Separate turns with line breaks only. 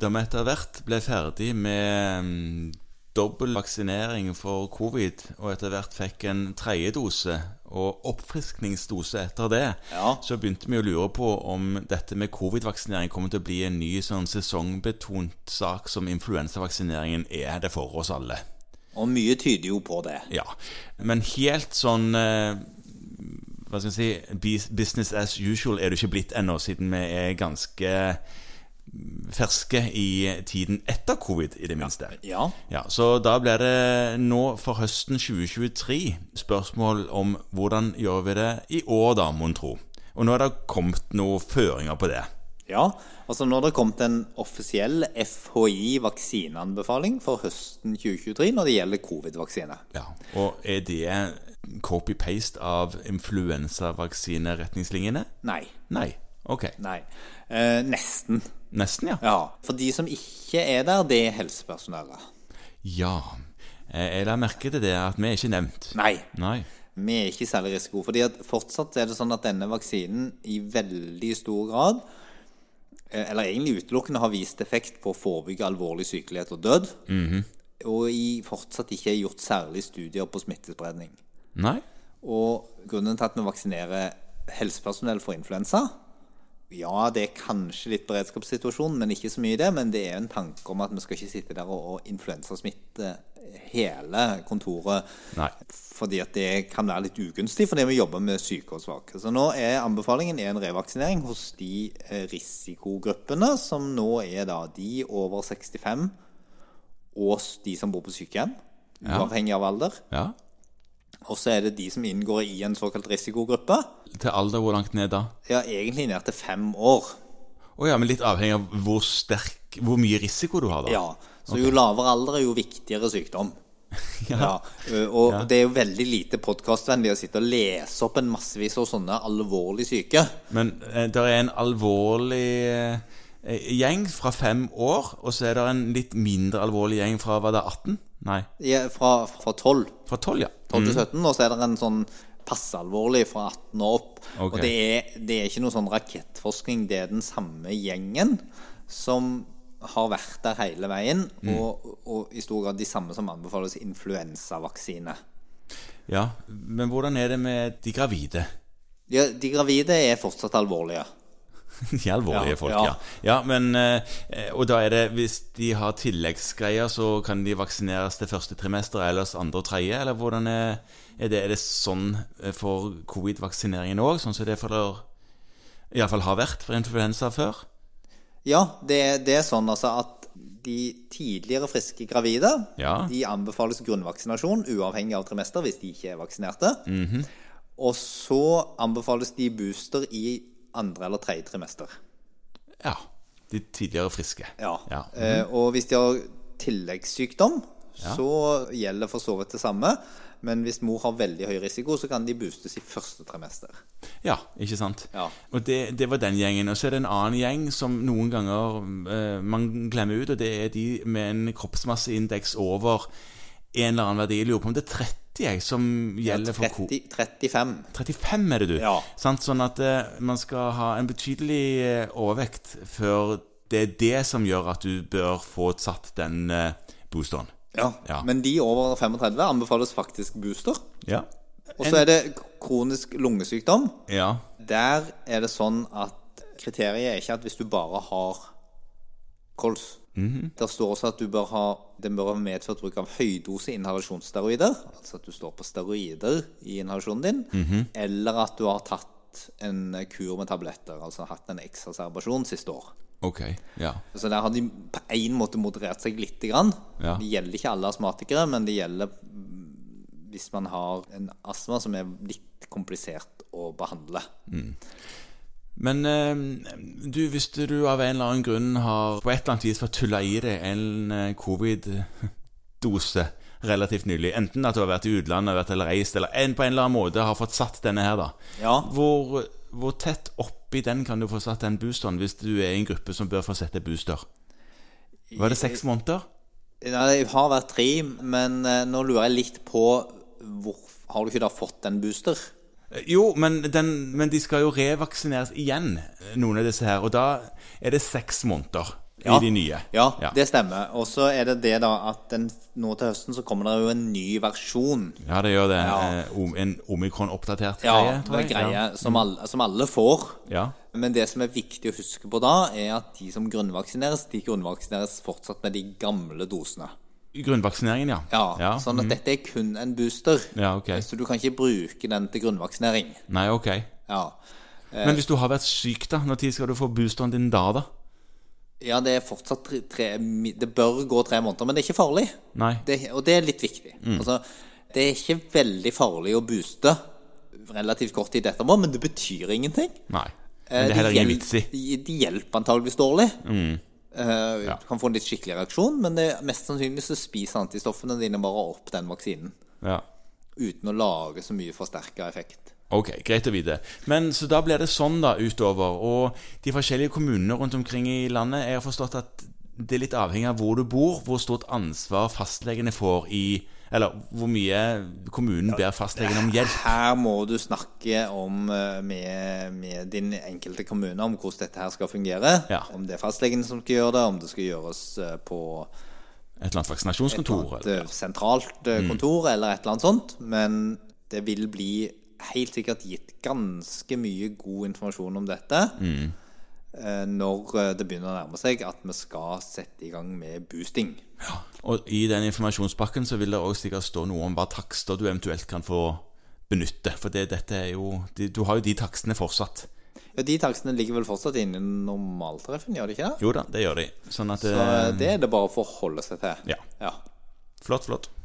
som etter hvert ble ferdig med mm, dobbel vaksinering for covid, og etter hvert fikk en tredje dose og oppfriskningsdose etter det,
Ja.
så begynte vi å lure på om dette med covid-vaksinering kommer til å bli en ny sånn sesongbetont sak som influensavaksineringen er det for oss alle.
Og mye tyder jo på det.
Ja, men helt sånn eh, Hva skal jeg si bus- Business as usual er det ikke blitt ennå, siden vi er ganske mm, ferske i tiden etter covid, i det minste.
Ja.
Ja, Så da blir det nå for høsten 2023 spørsmål om hvordan gjør vi det i år, da, mon tro. Og nå er det kommet noen føringer på det.
Ja, altså Når det kom til en offisiell FHI-vaksineanbefaling for høsten 2023 når det gjelder covid-vaksine.
Ja, Og er det copy-paste av influensavaksineretningslinjene?
Nei.
Nei. Ok.
Nei. Eh, nesten.
Nesten, ja.
Ja. For de som ikke er der, det er helsepersonellet.
Ja. Eh, Jeg la merke til det at vi er ikke nevnt.
Nei.
Nei.
Vi er ikke særlig risiko. fordi at fortsatt er det sånn at denne vaksinen i veldig stor grad, eh, eller egentlig utelukkende, har vist effekt på å forebygge alvorlig sykelighet og død. Og i fortsatt ikke er gjort særlig studier på smittespredning.
Nei?
Og grunnen til at vi vaksinerer helsepersonell for influensa Ja, det er kanskje litt beredskapssituasjon, men ikke så mye i det. Men det er en tanke om at vi skal ikke sitte der og, og influensasmitte hele kontoret.
Nei.
Fordi at det kan være litt ugunstig fordi vi jobber med syke og svake. Så nå er anbefalingen er en revaksinering hos de eh, risikogruppene som nå er da de over 65 og s- de som bor på sykehjem.
Ja.
Uavhengig av alder.
Ja.
Og så er det de som inngår i en såkalt risikogruppe.
Til alder, hvor langt ned da?
Ja, egentlig ned til fem år.
Å ja, men litt avhengig av hvor sterk Hvor mye risiko du har, da.
Ja, Så jo lavere alder er jo viktigere sykdom. Ja, ø, Og det er jo veldig lite podkastvennlig å sitte og lese opp en massevis av sånne alvorlig syke.
Men eh, det er en alvorlig eh, gjeng fra fem år, og så er det en litt mindre alvorlig gjeng fra hva det er 18? Nei,
Ja, Fra, fra 12,
fra 12, ja.
12 til 17, og så er det en sånn passe alvorlig fra 18 og opp.
Ok.
Og det er, det er ikke noe sånn rakettforskning. Det er den samme gjengen som har vært der hele veien, og, og i stor grad de samme som anbefales influensavaksine.
ja. Men hvordan er det med de gravide?
Ja, de gravide er fortsatt alvorlige.
De alvorlige
Ja,
folk,
ja.
ja. ja men, eh, og da er det Hvis de har tilleggsgreier, så kan de vaksineres det første trimesteret, ellers andre og tredje? Eller hvordan er, er, det, er det sånn for covid-vaksineringen òg? Sånn som det for der, iallfall har vært for influensa før?
Ja, det, det er sånn altså at de tidligere friske gravide
Ja.
de anbefales grunnvaksinasjon uavhengig av trimester hvis de ikke er vaksinerte.
Mhm.
Og så anbefales de booster i andre eller tredje trimester.
Ja. De tidligere friske.
Ja.
Ja.
Eh, og hvis de har tilleggssykdom, så gjelder for så vidt det samme. Men hvis mor har veldig høy risiko, så kan de boostes i første trimester.
Ja, ikke sant?
Ja.
Og det, det var den gjengen. Og så er det en annen gjeng som noen ganger eh, man glemmer ut, og det er de med en kroppsmasseindeks over en eller annen verdi. Jeg lurer på om det er 30 jeg, som gjelder for ko...
30, 35.
35 er det du?
Ja.
Sant? Sånn at eh, man skal ha en betydelig eh, overvekt før det er det som gjør at du bør få satt den eh, boosteren.
Ja.
Ja.
Men de over 35 anbefales faktisk booster.
Ja.
Og så er det kronisk lungesykdom.
Ja.
Der er det sånn at kriteriet er ikke at hvis du bare har kols. Der står også at du bør ha, den bør ha medført bruk av høydose inhalasjonssteroider. Altså at du står på steroider i inhalasjonen din. Eller at du har tatt en kur med tabletter, altså hatt en eksacerbasjon siste år.
Ok. Ja.
Så der har de på en måte moderert seg litt. Grann.
Ja.
Det gjelder ikke alle astmatikere, men det gjelder mm, hvis man har en astma som er litt komplisert å behandle.
Men eh, du, hvis du av en eller annen grunn har på et eller annet vis fått tulla i deg en eh, covid-dose relativt nylig, enten at du har vært i utlandet, vært eller reist, eller en, på en eller annen måte har fått satt denne her, da.
Ja.
Hvor, hvor tett oppi den kan du få satt den boosteren hvis du er i en gruppe som bør få sette booster? Var det seks måneder?
Nei, Det har vært tre, men eh, nå lurer jeg litt på hvor, Har du ikke da fått en booster?
Eh, Jo, men, den, men de skal jo revaksineres igjen, eh, noen av disse her, og da er det seks måneder.
Ja.
i de nye.
Ja,
Ja.
det stemmer. Og så er det det da at den, nå til høsten så kommer det jo en ny versjon.
Ja, det gjør det.
Ja.
Eh, om- En omikron-oppdatert greie,
Ja,
tror
det er
jeg. Mm.
greie som alle, som alle får.
Ja.
Men det som er viktig å huske på da, er at de som grunnvaksineres, de grunnvaksineres fortsatt med de gamle dosene.
ja. Grunnvaksineringen, ja. mm.
Ja, Sånn at dette er kun en booster.
Ja, ok.
Så du kan ikke bruke den til grunnvaksinering.
Nei, ok.
Eh. Ja.
Men hvis du har vært syk, da, når tid skal du få boosteren din da, da?
ja, det er fortsatt tre, tre Det bør gå tre måneder, men det er ikke farlig.
Nei.
Det, og det er litt viktig.
Mm.
Altså, det er ikke veldig farlig å booste relativt kort tid etterpå, men det betyr ingenting.
Nei. Men det er heller ingen vits i. Mm.
i. Eh, Det hjelper antageligvis dårlig. Eh, Du kan få en litt skikkelig reaksjon, men det, mest sannsynlig så spiser antistoffene dine bare opp den vaksinen.
Ja.
Uten å lage så mye forsterka effekt.
Ok, greit å vite. Men Så da blir det sånn, da, utover. Og de forskjellige kommunene rundt omkring i landet Jeg har forstått at det er litt avhengig av hvor du bor, hvor stort ansvar fastlegene får i Eller hvor mye kommunen ber fastlegen om hjelp.
Her må du snakke om, eh, med, med din enkelte kommune om hvordan dette her skal fungere.
Ja.
Om det er fastlegen som skal gjøre det, om det skal gjøres eh, på
Et eller annet vaksinasjonskontor.
et
Eller. Mm.
eh, sentralt eh, kontor eller et eller annet sånt. Men det vil bli helt sikkert gitt ganske mye god informasjon om dette
Mm.
eh, når eh, det begynner å nærme seg at vi skal sette i gang med boosting.
Og i den informasjonspakken så vil det også sikkert stå noe om hva takster du eventuelt kan få benytte. For det, dette er jo de, Du har jo de takstene fortsatt.
Ja, de takstene ligger vel fortsatt innen normaltreffen, gjør de ikke det?
Jo da, det gjør de. Sånn at
Så
eh,
eh, det er det bare å forholde seg til.
Ja.
Ja.
Flott, flott.